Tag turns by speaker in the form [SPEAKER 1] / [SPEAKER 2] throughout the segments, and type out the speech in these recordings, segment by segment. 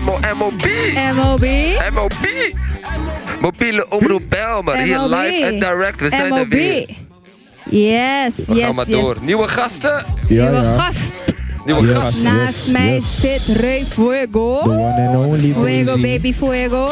[SPEAKER 1] MO, MOB.
[SPEAKER 2] MOB.
[SPEAKER 1] MOB. Mobiele omroep Belmer. Hier
[SPEAKER 2] MOB.
[SPEAKER 1] live en direct. We zijn er
[SPEAKER 2] MOB.
[SPEAKER 1] weer.
[SPEAKER 2] Yes,
[SPEAKER 1] We
[SPEAKER 2] yes,
[SPEAKER 1] gaan maar
[SPEAKER 2] yes.
[SPEAKER 1] door. Nieuwe gasten.
[SPEAKER 2] Nieuwe
[SPEAKER 3] ja.
[SPEAKER 2] gast.
[SPEAKER 1] Nieuwe
[SPEAKER 3] Ja.
[SPEAKER 1] gasten.
[SPEAKER 2] Naast
[SPEAKER 3] yes,
[SPEAKER 2] mij
[SPEAKER 3] yes.
[SPEAKER 2] zit Rey Fuego.
[SPEAKER 3] The one and only
[SPEAKER 2] Fuego, baby, fuego.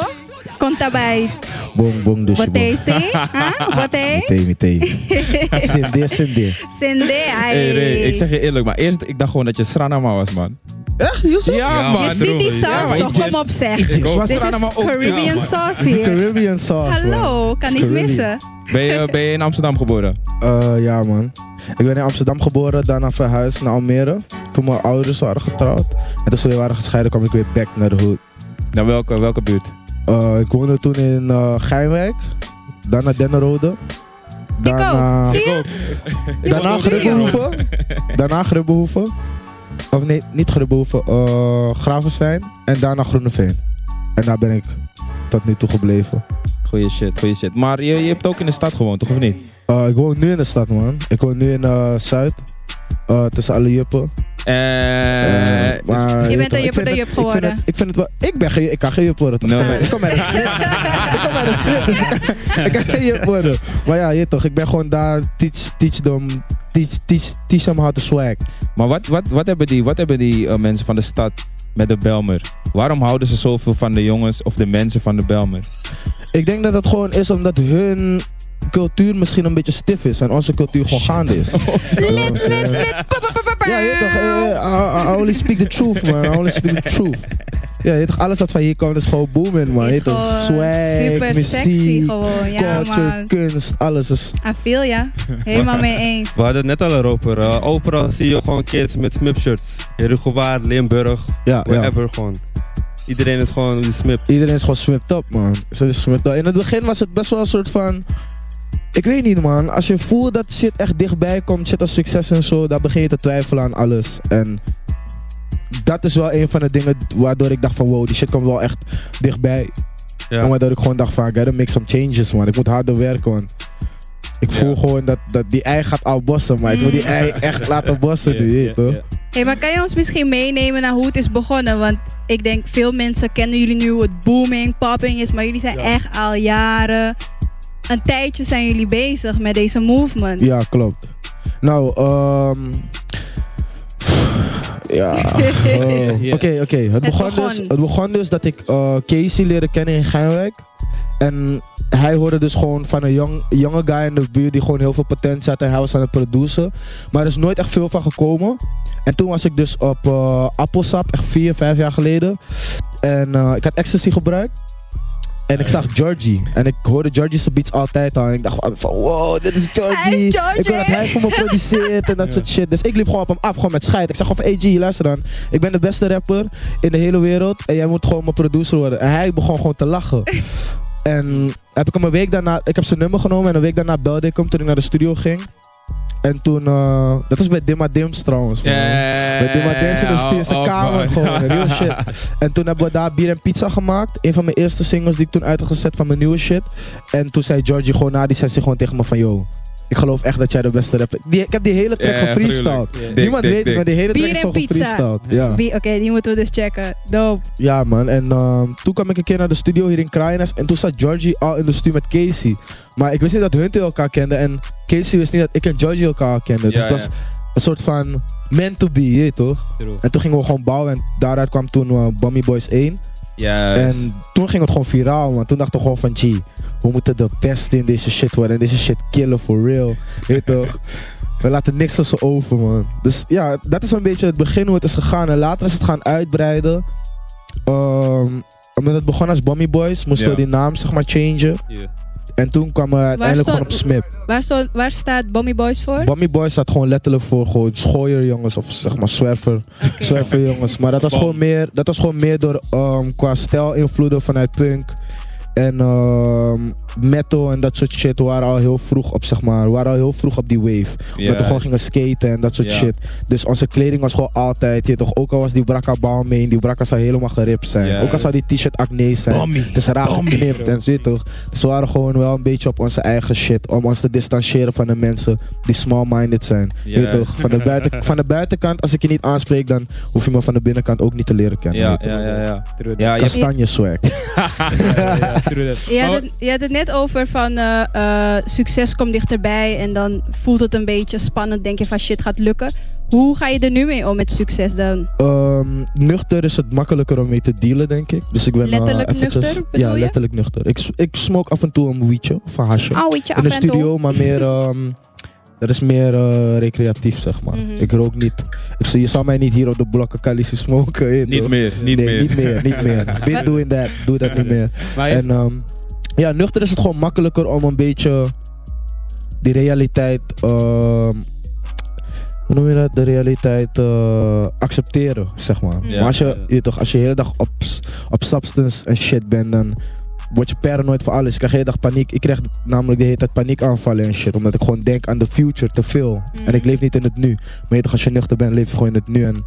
[SPEAKER 2] Conta bij
[SPEAKER 3] Bong bong dus
[SPEAKER 2] wat hij zei. Huh? Wat hij?
[SPEAKER 3] Meteen, meteen. Sende, sende.
[SPEAKER 2] Sende,
[SPEAKER 4] Hey, Ray,
[SPEAKER 2] hij.
[SPEAKER 4] ik zeg je eerlijk, maar eerst, ik dacht gewoon dat je Sranama was, man.
[SPEAKER 3] Echt? Heel zo?
[SPEAKER 4] Ja, man.
[SPEAKER 2] Je ziet die
[SPEAKER 4] droge. Ja,
[SPEAKER 2] saus
[SPEAKER 4] maar
[SPEAKER 2] toch,
[SPEAKER 4] ik-
[SPEAKER 2] kom op zeg.
[SPEAKER 4] Ik ook.
[SPEAKER 2] Dit
[SPEAKER 4] Sarah,
[SPEAKER 2] is
[SPEAKER 4] maar ook. Ja,
[SPEAKER 2] Caribbean
[SPEAKER 4] man.
[SPEAKER 2] sauce
[SPEAKER 3] Het is
[SPEAKER 2] hier.
[SPEAKER 3] Caribbean sauce.
[SPEAKER 2] Hallo,
[SPEAKER 3] man.
[SPEAKER 2] kan
[SPEAKER 3] Het
[SPEAKER 2] ik
[SPEAKER 3] is Caribbean.
[SPEAKER 2] missen.
[SPEAKER 4] Ben je, ben je in Amsterdam geboren?
[SPEAKER 3] Eh, ja, man. Ik ben in Amsterdam geboren, daarna verhuisd naar Almere. Toen mijn ouders waren getrouwd. En toen ze weer waren gescheiden, kwam ik weer back naar de hood.
[SPEAKER 4] Naar welke, welke buurt?
[SPEAKER 3] Eh, ik woonde toen in eh Geinwijk. Daarna Dennerode.
[SPEAKER 2] Ik ook, zie je?
[SPEAKER 3] Daarna
[SPEAKER 2] ook in
[SPEAKER 3] Grubbehoeven. Daarna Grubbehoeven. Of nee, niet Grubbehoeven. eh Gravenstein. En daarna Groeneveen. En daar ben ik tot nu toe gebleven.
[SPEAKER 4] Goeie shit, goeie shit. Maar je, je hebt ook in de stad gewoond, toch of niet?
[SPEAKER 3] Eh, ik woon nu in de stad, man. Ik woon nu in eh, Zuid. Eh, tussen alle juppen.
[SPEAKER 4] Eh,
[SPEAKER 3] Eh, maar
[SPEAKER 2] dus Je bent
[SPEAKER 3] toch,
[SPEAKER 2] een juppe
[SPEAKER 3] ik vind
[SPEAKER 2] de
[SPEAKER 3] het-
[SPEAKER 2] jup
[SPEAKER 3] ik vind het-
[SPEAKER 2] geworden.
[SPEAKER 3] Ik vind het wel... Ik ben geen... Ik kan geen jup worden, toch?
[SPEAKER 4] No.
[SPEAKER 3] Ik kom- Ik kom bij de swip. ik kom bij de swip, dus ik- ik kan geen jup worden. Maar ja, je toch. Ik ben gewoon daar. Teach, teach them... Teach, teach, teach them how to swag.
[SPEAKER 4] maar wat, wat, wat hebben die, wat hebben die eh, mensen van de stad met de Belmer? Waarom houden ze zoveel van de jongens of de mensen van de Belmer?
[SPEAKER 3] Ik denk dat dat gewoon is omdat hun cultuur misschien een beetje stif is en onze cultuur gewoon gaande is.
[SPEAKER 2] Lid, lid, lid. Pa, pa, pa, pa, pa.
[SPEAKER 3] Ja, je weet toch, eh, eh, I, I only speak the truth, man. I only speak the truth. Ja, je weet toch, alles wat van hier komt is gewoon booming, man.
[SPEAKER 2] Is
[SPEAKER 3] Je weet toch,
[SPEAKER 2] gewoon
[SPEAKER 3] swag,
[SPEAKER 2] Super
[SPEAKER 3] muziek,
[SPEAKER 2] sexy gewoon, ja
[SPEAKER 3] culture,
[SPEAKER 2] man.
[SPEAKER 3] kunst, alles is...
[SPEAKER 2] I feel ya. Helemaal mee eens.
[SPEAKER 5] We hadden het net al erover. eh, overal zie je gewoon kids met smipshirts. Herugowaard, Limburg,
[SPEAKER 3] Ja, ja.
[SPEAKER 5] wherever gewoon. Iedereen is gewoon die smip.
[SPEAKER 3] Iedereen is gewoon smipt op, man. Ze is smipt op. In het begin was het best wel een soort van... Ik weet niet, man. Als je voelt dat shit echt dichtbij komt, shit als succes en zo, dan begin je te twijfelen aan alles. En dat is wel een van de dingen waardoor ik dacht van, wow, die shit komt wel echt dichtbij.
[SPEAKER 5] Ja.
[SPEAKER 3] En waardoor ik gewoon dacht van, I gotta make some changes, man. Ik moet harder werken, man. Ik voel gewoon dat, dat die ei gaat al bossen, maar ik moet die ei echt laten bossen nu, je weet toch?
[SPEAKER 2] Hey, maar kan je ons misschien meenemen naar hoe het is begonnen? Want ik denk, veel mensen kennen jullie nu hoe het booming, popping is. Maar jullie zijn echt al jaren, een tijdje zijn jullie bezig met deze movement.
[SPEAKER 3] Ja, klopt. Nou, ehm. Ja. oh. Oké, oké. Het, begon
[SPEAKER 2] begon.
[SPEAKER 3] dus, het begon dus dat ik eh, Casey leerde kennen in Geinwijk. En hij hoorde dus gewoon van een jong, jonge guy in de buurt die gewoon heel veel potentie had. En hij was aan het produceren. Maar er is nooit echt veel van gekomen. En toen was ik dus op eh, Appelsap, echt vier, vijf jaar geleden. En eh, ik had ecstasy gebruikt. En ik zag Georgie. En ik hoorde Georgie's beats altijd al. En ik dacht van, wow, dit is Georgie.
[SPEAKER 2] Hij is Georgie.
[SPEAKER 3] Ik wil dat hij voor me produceert en dat soort shit. Dus ik liep gewoon op hem af, gewoon met scheid. Ik zeg gewoon van, hey G, luister dan. Ik ben de beste rapper in de hele wereld. En jij moet gewoon mijn producer worden. En hij begon gewoon te lachen. En heb ik hem een week daarna, ik heb zijn nummer genomen en een week daarna belde ik hem toen ik naar de studio ging. En toen, eh, dat was bij Dimma Dims trouwens. man. Bij Dimma Dims in de
[SPEAKER 4] Eh,
[SPEAKER 3] stu- dus in zijn
[SPEAKER 4] oh,
[SPEAKER 3] kamer gewoon, real shit. En toen hebben we daar bier en pizza gemaakt. Een van mijn eerste singles die ik toen uit had gezet van mijn nieuwe shit. En toen zei Georgie gewoon na die sessie gewoon tegen me van, yo, ik geloof echt dat jij de beste rapper... Die, ik heb die hele track
[SPEAKER 4] Ja,
[SPEAKER 3] van freestyle.
[SPEAKER 4] gruwelijk. Ja. Dik,
[SPEAKER 3] Niemand
[SPEAKER 4] dik,
[SPEAKER 3] weet het,
[SPEAKER 4] dik.
[SPEAKER 3] maar die hele track
[SPEAKER 2] Bier
[SPEAKER 3] is
[SPEAKER 2] en
[SPEAKER 3] gewoon
[SPEAKER 2] pizza.
[SPEAKER 3] gefreestyled. Ja.
[SPEAKER 2] Wie- Oké, die moeten we dus checken. Dope.
[SPEAKER 3] Ja, man. En ehm, toen kwam ik een keer naar de studio hier in Kraaienest. En toen zat Georgie al in de studio met Casey. Maar ik wist niet dat hun twee elkaar kenden. En Casey wist niet dat ik en Georgie elkaar kenden. dus
[SPEAKER 4] Ja,
[SPEAKER 3] dat
[SPEAKER 4] ja.
[SPEAKER 3] is een soort van meant to be, je weet toch? En toen gingen we gewoon bouwen. En daaruit kwam toen eh, Bummy Boys 1.
[SPEAKER 4] Juist.
[SPEAKER 3] En toen ging het gewoon viraal, man. Toen dachten we gewoon van, gee, we moeten de beste in deze shit worden. En deze shit killen, for real. Weet toch? We laten niks tussen over, man. Dus ja, dat is een beetje het begin hoe het is gegaan. En later is het gaan uitbreiden. Ehm, omdat het begon als Bommy Boys, moesten
[SPEAKER 4] Ja.
[SPEAKER 3] we die naam zeg maar changen.
[SPEAKER 4] Ja.
[SPEAKER 3] En toen kwamen we uiteindelijk
[SPEAKER 2] stond-
[SPEAKER 3] gewoon op Smip.
[SPEAKER 2] Waar, sto- waar staat Bommy Boys voor?
[SPEAKER 3] Bommy Boys staat gewoon letterlijk voor gewoon schooierjongens of zeg maar zwerver, zwerverjongens. Maar dat was,
[SPEAKER 4] Bom.
[SPEAKER 3] gewoon meer, dat was gewoon meer door ehm, qua stijl invloeden vanuit punk En ehm, metal en dat soort shit waren al heel vroeg op, zeg maar. waren al heel vroeg op die wave.
[SPEAKER 4] Ja,
[SPEAKER 3] Dat we gewoon gingen skaten en dat soort
[SPEAKER 4] Ja.
[SPEAKER 3] shit. Dus onze kleding was gewoon altijd, je weet toch, ook al was die brakka balmeen, die brakka zou helemaal geript zijn.
[SPEAKER 4] Ja.
[SPEAKER 3] Ook al zou die t-shirt acne zijn.
[SPEAKER 4] Bommy.
[SPEAKER 3] Het is raar geknipt en zo, weet je toch. Dus we waren gewoon wel een beetje op onze eigen shit. Om ons te distancieren van de mensen die small-minded zijn. Je weet
[SPEAKER 4] Ja.
[SPEAKER 3] toch, van de, buiten, van de buitenkant, als ik je niet aanspreek, dan hoef je me van de binnenkant ook niet te leren kennen.
[SPEAKER 4] Ja,
[SPEAKER 3] weet je
[SPEAKER 4] ja,
[SPEAKER 3] toch.
[SPEAKER 4] ja, ja. Ja, je hebt-
[SPEAKER 3] Kastanje swag.
[SPEAKER 2] Je had, het, je had het net over van eh, eh, succes komt dichterbij en dan voelt het een beetje spannend. Denk je van shit gaat lukken. Hoe ga je er nu mee om met succes dan?
[SPEAKER 3] Ehm, nuchter is het makkelijker om mee te dealen, denk ik. Dus ik ben eh,
[SPEAKER 2] Letterlijk
[SPEAKER 3] eventjes-
[SPEAKER 2] nuchter, bedoel
[SPEAKER 3] Ja,
[SPEAKER 2] je?
[SPEAKER 3] letterlijk nuchter. Ik, s- ik smoke af en toe een wietje of een hasje.
[SPEAKER 2] Auwetje
[SPEAKER 3] in
[SPEAKER 2] af
[SPEAKER 3] de
[SPEAKER 2] en toe.
[SPEAKER 3] studio, maar meer. ehm, dat is meer eh, recreatief, zeg maar.
[SPEAKER 2] Mhm.
[SPEAKER 3] Ik rook niet. Ik, zie- je zal mij niet hier op de blokken Calici smoken. weet je
[SPEAKER 4] Niet
[SPEAKER 5] Eh,
[SPEAKER 3] toch?
[SPEAKER 4] meer, niet
[SPEAKER 3] Nee,
[SPEAKER 4] meer.
[SPEAKER 3] Niet meer, niet meer. Been doing that. Doe dat niet meer.
[SPEAKER 4] Maar je-
[SPEAKER 3] En ehm, ja, nuchter is het gewoon makkelijker om een beetje die realiteit. ehm, hoe noem je dat? De realiteit eh, accepteren, zeg maar.
[SPEAKER 2] Ja,
[SPEAKER 3] maar als je,
[SPEAKER 4] ja, ja.
[SPEAKER 3] je weet toch, als je de hele dag op, s- op substance en shit bent, dan word je paranoid voor alles. Ik krijg de hele dag paniek. Ik krijg namelijk de hele tijd paniekaanvallen en shit. Omdat ik gewoon denk aan de future te veel. En ik leef niet in het nu. Maar je weet toch, als je nuchter bent, leef je gewoon in het nu. En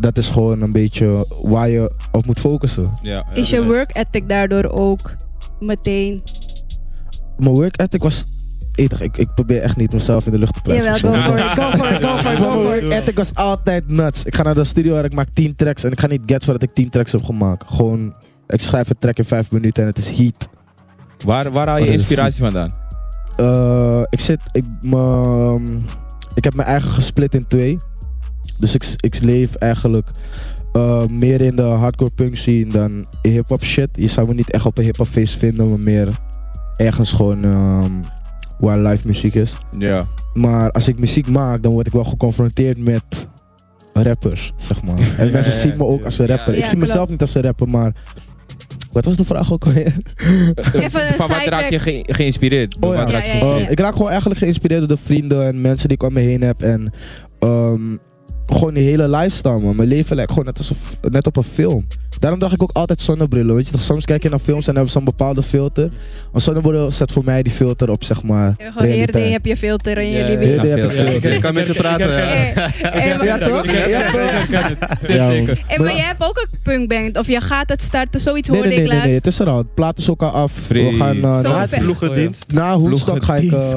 [SPEAKER 3] dat is gewoon een beetje waar je op moet focussen.
[SPEAKER 4] ja, ja.
[SPEAKER 2] Is je work ethic daardoor ook meteen?
[SPEAKER 3] mijn work ethic was. Eet toch, Ik, ik probeer echt niet mezelf in de lucht te prijzen.
[SPEAKER 2] Jawel,
[SPEAKER 3] of
[SPEAKER 2] go
[SPEAKER 3] zo.
[SPEAKER 2] for it, go for it, go for it,
[SPEAKER 3] Maar
[SPEAKER 2] go
[SPEAKER 3] mijn
[SPEAKER 2] for it.
[SPEAKER 3] work ethic was altijd nuts. Ik ga naar de studio en ik maak 10 tracks. En ik ga niet get voordat ik 10 tracks heb gemaakt. Gewoon, ik schrijf een track in 5 minuten en het is heat.
[SPEAKER 4] Waar, waar haal je
[SPEAKER 3] Oh, dat is-
[SPEAKER 4] inspiratie vandaan?
[SPEAKER 3] Eh, ik zit. Ik, me- ik heb mijn eigen gesplit in twee. Dus ik, ik leef eigenlijk eh, meer in de hardcore punk scene dan in hip-hop shit. Je zou me niet echt op een hip-hop feest vinden, maar meer ergens gewoon ehm, waar live muziek is.
[SPEAKER 4] Ja.
[SPEAKER 3] Maar als ik muziek maak, dan word ik wel geconfronteerd met rappers, zeg maar. En
[SPEAKER 4] Ja,
[SPEAKER 3] mensen
[SPEAKER 4] ja,
[SPEAKER 3] zien me ook
[SPEAKER 4] ja.
[SPEAKER 3] als een rapper.
[SPEAKER 2] Ja,
[SPEAKER 3] ik zie
[SPEAKER 2] klopt.
[SPEAKER 3] mezelf niet als een rapper, maar... Wat was de vraag ook alweer?
[SPEAKER 2] Even een
[SPEAKER 4] Van wat
[SPEAKER 2] sidetrack.
[SPEAKER 4] raak je ge- geïnspireerd? Door
[SPEAKER 3] Oh,
[SPEAKER 4] wat
[SPEAKER 3] ja.
[SPEAKER 4] raak je
[SPEAKER 2] Ja, ja, ja.
[SPEAKER 4] geïnspireerd?
[SPEAKER 3] Ik raak gewoon eigenlijk geïnspireerd door de vrienden en mensen die ik om me heen heb. En ehm, gewoon die hele lifestyle, man. Mijn leven lijkt gewoon net, alsof, net op een film. Daarom draag ik ook altijd zonnebrillen, weet je toch? Soms kijk je naar films en hebben ze een bepaalde filter. Een zonnebril zet voor mij die filter op, zeg maar,
[SPEAKER 2] Gewoon eerder
[SPEAKER 3] realiteit.
[SPEAKER 2] heb je filter in
[SPEAKER 5] Ja,
[SPEAKER 2] je
[SPEAKER 3] Heel
[SPEAKER 2] libido.
[SPEAKER 3] de
[SPEAKER 4] Ja,
[SPEAKER 3] heb ik
[SPEAKER 4] veel.
[SPEAKER 3] filter.
[SPEAKER 5] Ik kan met je praten. ja.
[SPEAKER 2] Eh, eh, maar-
[SPEAKER 3] Ja, toch? Ja, toch?
[SPEAKER 5] Ja,
[SPEAKER 3] man.
[SPEAKER 5] zeker.
[SPEAKER 2] eh, Maar je hebt ook een punkband of je gaat het starten, zoiets
[SPEAKER 3] Nee,
[SPEAKER 2] hoorde
[SPEAKER 3] nee, nee,
[SPEAKER 2] ik
[SPEAKER 3] nee,
[SPEAKER 2] laatst.
[SPEAKER 3] nee, het is er al. Het plaat is ook al af.
[SPEAKER 4] Vrees.
[SPEAKER 3] We gaan eh,
[SPEAKER 2] Zo
[SPEAKER 3] na,
[SPEAKER 2] vet.
[SPEAKER 5] Ploegendienst.
[SPEAKER 3] na Hoedstok ga ik... eh,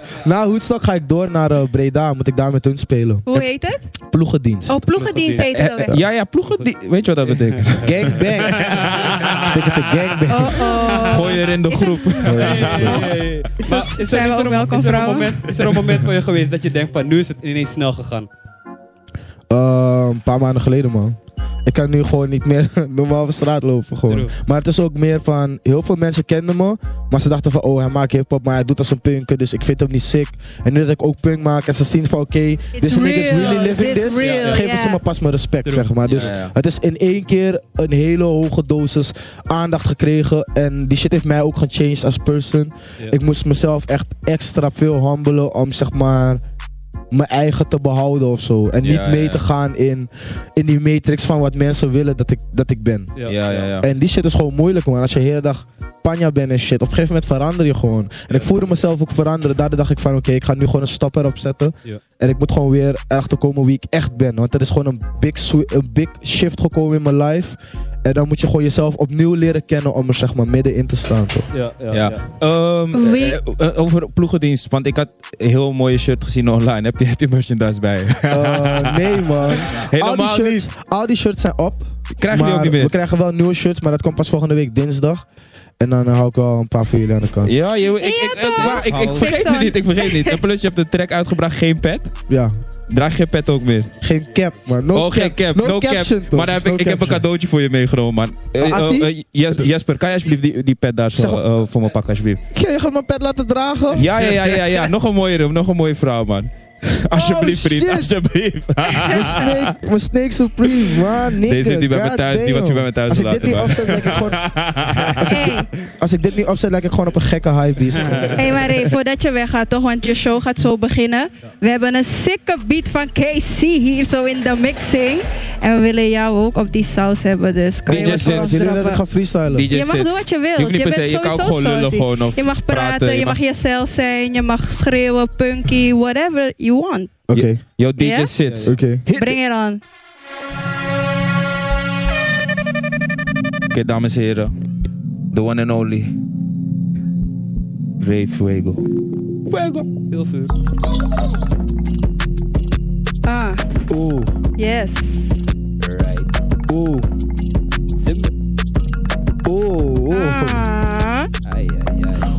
[SPEAKER 3] na Hoedstok ga ik door naar eh, Breda. Moet ik daar met hun spelen.
[SPEAKER 2] Hoe heet het?
[SPEAKER 3] Ploegendienst.
[SPEAKER 2] Oh, ploegendienst heet het ook.
[SPEAKER 4] Eh, eh, Ja, ja, ploegen. die- Weet je wat dat betekent?
[SPEAKER 3] Gangbang. Ticket gangbang.
[SPEAKER 2] Oh, oh.
[SPEAKER 4] Gooi er in de
[SPEAKER 2] Is het-
[SPEAKER 4] groep.
[SPEAKER 2] Zo
[SPEAKER 6] Maar is er-
[SPEAKER 2] zijn we
[SPEAKER 6] is er
[SPEAKER 2] ook
[SPEAKER 6] een-
[SPEAKER 2] welkom,
[SPEAKER 6] is er een
[SPEAKER 2] vrouwen.
[SPEAKER 6] moment- Is er een moment voor je geweest dat je denkt van nu is het ineens snel gegaan?
[SPEAKER 3] Eh, een paar maanden geleden, man. Ik kan nu gewoon niet meer normaal over straat lopen. Gewoon.
[SPEAKER 6] True.
[SPEAKER 3] Maar het is ook meer van, heel veel mensen kenden me. Maar ze dachten van, oh hij maakt hip-hop, maar hij doet als een punker. Dus ik vind hem niet sick. En nu dat ik ook punk maak en ze zien van, oké, this nigga is
[SPEAKER 2] real,
[SPEAKER 3] really living
[SPEAKER 2] this
[SPEAKER 3] this.
[SPEAKER 2] real,
[SPEAKER 3] Geven
[SPEAKER 2] ja.
[SPEAKER 3] ze me pas mijn respect,
[SPEAKER 6] True.
[SPEAKER 3] zeg maar. Dus
[SPEAKER 4] Ja, ja.
[SPEAKER 3] het is in één keer een hele hoge dosis aandacht gekregen. En die shit heeft mij ook gechanged als person.
[SPEAKER 6] Ja.
[SPEAKER 3] Ik moest mezelf echt extra veel humbelen om zeg maar mijn eigen te behouden of zo. En
[SPEAKER 4] Ja,
[SPEAKER 3] niet mee
[SPEAKER 4] ja.
[SPEAKER 3] te gaan in, in die matrix van wat mensen willen dat ik, dat ik ben.
[SPEAKER 4] Ja, ja, ja.
[SPEAKER 3] En die shit is gewoon moeilijk, man. Als je de hele dag panja bent en shit. Op een gegeven moment verander je gewoon. En ik voelde mezelf ook veranderen. Daardoor dacht ik van, oké, ik ga nu gewoon een stap erop zetten.
[SPEAKER 6] Ja.
[SPEAKER 3] En ik moet gewoon weer erachter komen wie ik echt ben. Want er is gewoon een big, swi- een big shift gekomen in mijn life. En dan moet je gewoon jezelf opnieuw leren kennen om er zeg maar middenin te staan, toch?
[SPEAKER 6] Ja, ja,
[SPEAKER 4] Ja.
[SPEAKER 6] ja.
[SPEAKER 4] Ehm,
[SPEAKER 2] Wie-
[SPEAKER 4] eh, eh, over ploegendienst, want ik had een heel mooie shirt gezien online. Heb je, heb je merchandise bij je?
[SPEAKER 3] Eh, nee, man. al Oh, die
[SPEAKER 4] Helemaal
[SPEAKER 3] shirts,
[SPEAKER 4] niet.
[SPEAKER 3] Al die shirts zijn op.
[SPEAKER 4] Krijg je die
[SPEAKER 3] maar
[SPEAKER 4] ook niet
[SPEAKER 3] We
[SPEAKER 4] meer?
[SPEAKER 3] krijgen wel nieuwe shirts, maar dat komt pas volgende week dinsdag. En dan eh, hou ik wel een paar voor jullie aan de kant.
[SPEAKER 4] Ja, joh, ik, ik, ik,
[SPEAKER 2] Ja, toch?
[SPEAKER 4] waar- ik, ik
[SPEAKER 2] Fix
[SPEAKER 4] vergeet het
[SPEAKER 2] on.
[SPEAKER 4] niet, ik vergeet het niet. En plus, je hebt de track uitgebracht, geen pet.
[SPEAKER 3] Ja.
[SPEAKER 4] Draag geen pet ook meer.
[SPEAKER 3] Geen cap, maar no
[SPEAKER 4] oh, geen cap, no, cap.
[SPEAKER 3] caption, toch? Dus
[SPEAKER 4] Maar dan heb
[SPEAKER 3] No
[SPEAKER 4] ik, ik heb een
[SPEAKER 3] caption.
[SPEAKER 4] cadeautje voor je meegenomen, man. Eh, eh,
[SPEAKER 3] Atti?
[SPEAKER 4] eh, Jes- Jesper, kan je alsjeblieft die, die pet daar zo
[SPEAKER 3] Zeg maar- Oh,
[SPEAKER 4] eh, voor me pakken, alsjeblieft?
[SPEAKER 3] Kun je gewoon mijn pet laten dragen?
[SPEAKER 4] Ja, ja, ja, ja, ja. Nog een mooie nog een mooie vrouw, man. Alsjeblieft,
[SPEAKER 3] Oh,
[SPEAKER 4] vriend.
[SPEAKER 3] shit.
[SPEAKER 4] Alsjeblieft.
[SPEAKER 3] Mijn snake, mijn snake supreme, man. Nigga,
[SPEAKER 4] Deze zit hier bij me thuis. Die
[SPEAKER 3] goddamn.
[SPEAKER 4] was hier bij me thuis
[SPEAKER 3] Als ik dit
[SPEAKER 4] gelaten,
[SPEAKER 3] niet
[SPEAKER 4] man.
[SPEAKER 3] opzet, lijk ik gewoon,
[SPEAKER 2] Hey,
[SPEAKER 3] als ik dit niet opzet, lijk ik gewoon op een gekke hype beast.
[SPEAKER 2] hey, maar hey, voordat je weggaat toch, want je show gaat zo beginnen. We hebben een sikke beat van KC hier zo in de mixing. En we willen jou ook op die saus hebben, dus kan
[SPEAKER 4] DJ
[SPEAKER 2] je wat
[SPEAKER 4] Sins,
[SPEAKER 2] voor ons
[SPEAKER 3] Ze willen dat ik
[SPEAKER 2] droppen?
[SPEAKER 3] ga freestylen.
[SPEAKER 4] DJ
[SPEAKER 2] Je mag
[SPEAKER 4] Sits.
[SPEAKER 2] doen wat je
[SPEAKER 4] Je
[SPEAKER 2] wilt.
[SPEAKER 4] hoeft niet per se,
[SPEAKER 2] bent
[SPEAKER 4] je kan ook
[SPEAKER 2] sowieso
[SPEAKER 4] gewoon lullen
[SPEAKER 2] saucy.
[SPEAKER 4] gewoon. Of
[SPEAKER 2] Je mag praten, je, mag jezelf zijn, je mag schreeuwen, punky, whatever you want.
[SPEAKER 3] Oké,
[SPEAKER 4] Yo, DJ
[SPEAKER 2] Ja?
[SPEAKER 4] Sits.
[SPEAKER 3] oké.
[SPEAKER 2] Bring it on.
[SPEAKER 4] Oké, dames en heren. The one and only. Ray Fuego. Fuego.
[SPEAKER 6] Heel vuur.
[SPEAKER 2] Ah,
[SPEAKER 3] Oeh,
[SPEAKER 2] yes.
[SPEAKER 3] oeh, oeh, oeh.
[SPEAKER 2] Ah.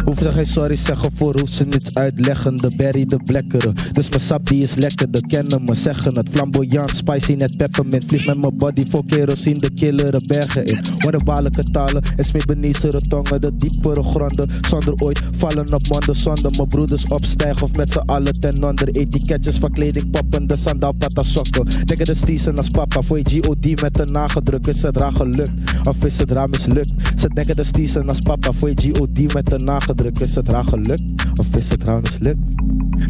[SPEAKER 3] Hoef ze geen sorry zeggen voor, hoef ze niets uitleggen. De berry, de blekkere. Dus mijn sap die is lekker, de kennen me zeggen het. Flamboyant, spicy, net peppermint. Vlieg met mijn body voor kerosine, de killere bergen in. Wonderbaarlijke talen en smeekbeniezen tongen. De diepere gronden, zonder ooit vallen op monden. Zonder mijn broeders opstijgen of met z'n allen ten onder. Etiketjes van kleding, poppende sandaal, pata sokken. Dikke de stiezen als papa, voor je GOD met een nagedruk. Is het raar gelukt of is het raar mislukt? Ze denken de stiezen als papa, voor je GOD met een nagedruk. Is het raar gelukt of is het raar mislukt?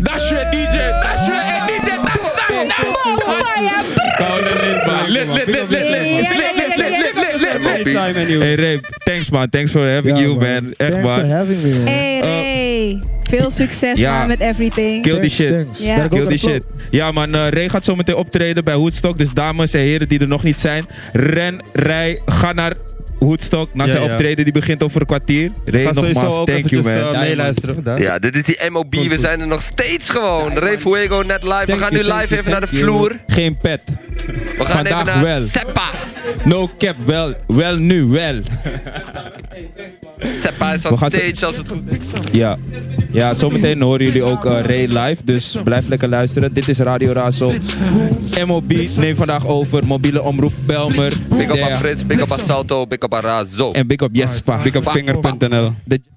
[SPEAKER 1] That's your DJ. That's your
[SPEAKER 4] eh,
[SPEAKER 1] hey, DJ. That's that.
[SPEAKER 4] Koude lid, man. Lid, lid, lid, lid, lid.
[SPEAKER 2] Ja, ja, ja, ja, ja.
[SPEAKER 4] Lid, lid, lid, lid, lid.
[SPEAKER 1] Moppie.
[SPEAKER 6] Time anyway.
[SPEAKER 4] Hey Ray, thanks man. Thanks for having
[SPEAKER 3] Ja,
[SPEAKER 4] you, man. Echt
[SPEAKER 3] Thanks for
[SPEAKER 4] man.
[SPEAKER 3] having me, man.
[SPEAKER 6] Eh,
[SPEAKER 2] Hey Ray, veel succes
[SPEAKER 4] Ja.
[SPEAKER 2] man met everything.
[SPEAKER 4] Kill die
[SPEAKER 3] Thanks,
[SPEAKER 4] shit.
[SPEAKER 3] thanks.
[SPEAKER 2] Ja.
[SPEAKER 3] Ben ik ook
[SPEAKER 4] Kill
[SPEAKER 3] aan
[SPEAKER 4] die
[SPEAKER 3] het
[SPEAKER 4] shit. Ja man, eh, Ray gaat zo meteen optreden bij Hoedstok. Dus dames en heren die er nog niet zijn, ren, rij, ga naar Hoedstok. Naar
[SPEAKER 5] Ja,
[SPEAKER 4] zijn
[SPEAKER 5] ja.
[SPEAKER 4] optreden, die begint over een kwartier. Ray
[SPEAKER 5] Ga sowieso
[SPEAKER 4] nogmaals,
[SPEAKER 5] ook
[SPEAKER 4] thank you
[SPEAKER 5] eventjes eh,
[SPEAKER 4] man.
[SPEAKER 5] meeluisteren. daar.
[SPEAKER 1] Ja, dit is die MOB.
[SPEAKER 5] Komt
[SPEAKER 1] We
[SPEAKER 5] goed.
[SPEAKER 1] zijn er nog steeds gewoon. Ray Fuego net live. We
[SPEAKER 4] Thank
[SPEAKER 1] gaan
[SPEAKER 4] you,
[SPEAKER 1] nu
[SPEAKER 4] thank
[SPEAKER 1] live
[SPEAKER 4] you,
[SPEAKER 1] even naar de
[SPEAKER 4] thank you.
[SPEAKER 1] vloer.
[SPEAKER 4] Geen pet.
[SPEAKER 1] We gaan even
[SPEAKER 4] Vandaag
[SPEAKER 1] naar
[SPEAKER 4] wel.
[SPEAKER 1] Seppa.
[SPEAKER 4] No cap, wel, wel nu, wel.
[SPEAKER 1] Seppa is
[SPEAKER 4] We
[SPEAKER 1] on
[SPEAKER 4] gaan ze-
[SPEAKER 1] stage als het goed is.
[SPEAKER 4] Ja, ja zometeen horen jullie ook eh, Ray live, dus blijf lekker luisteren. Dit is Radio Razel. MOB neemt vandaag over, mobiele omroep Belmer.
[SPEAKER 1] Big up aan
[SPEAKER 4] Yeah.
[SPEAKER 1] Frits, big up aan Salto, big up aan Razo.
[SPEAKER 4] En big up Jespa.
[SPEAKER 1] Big up Vinger.nl.
[SPEAKER 4] De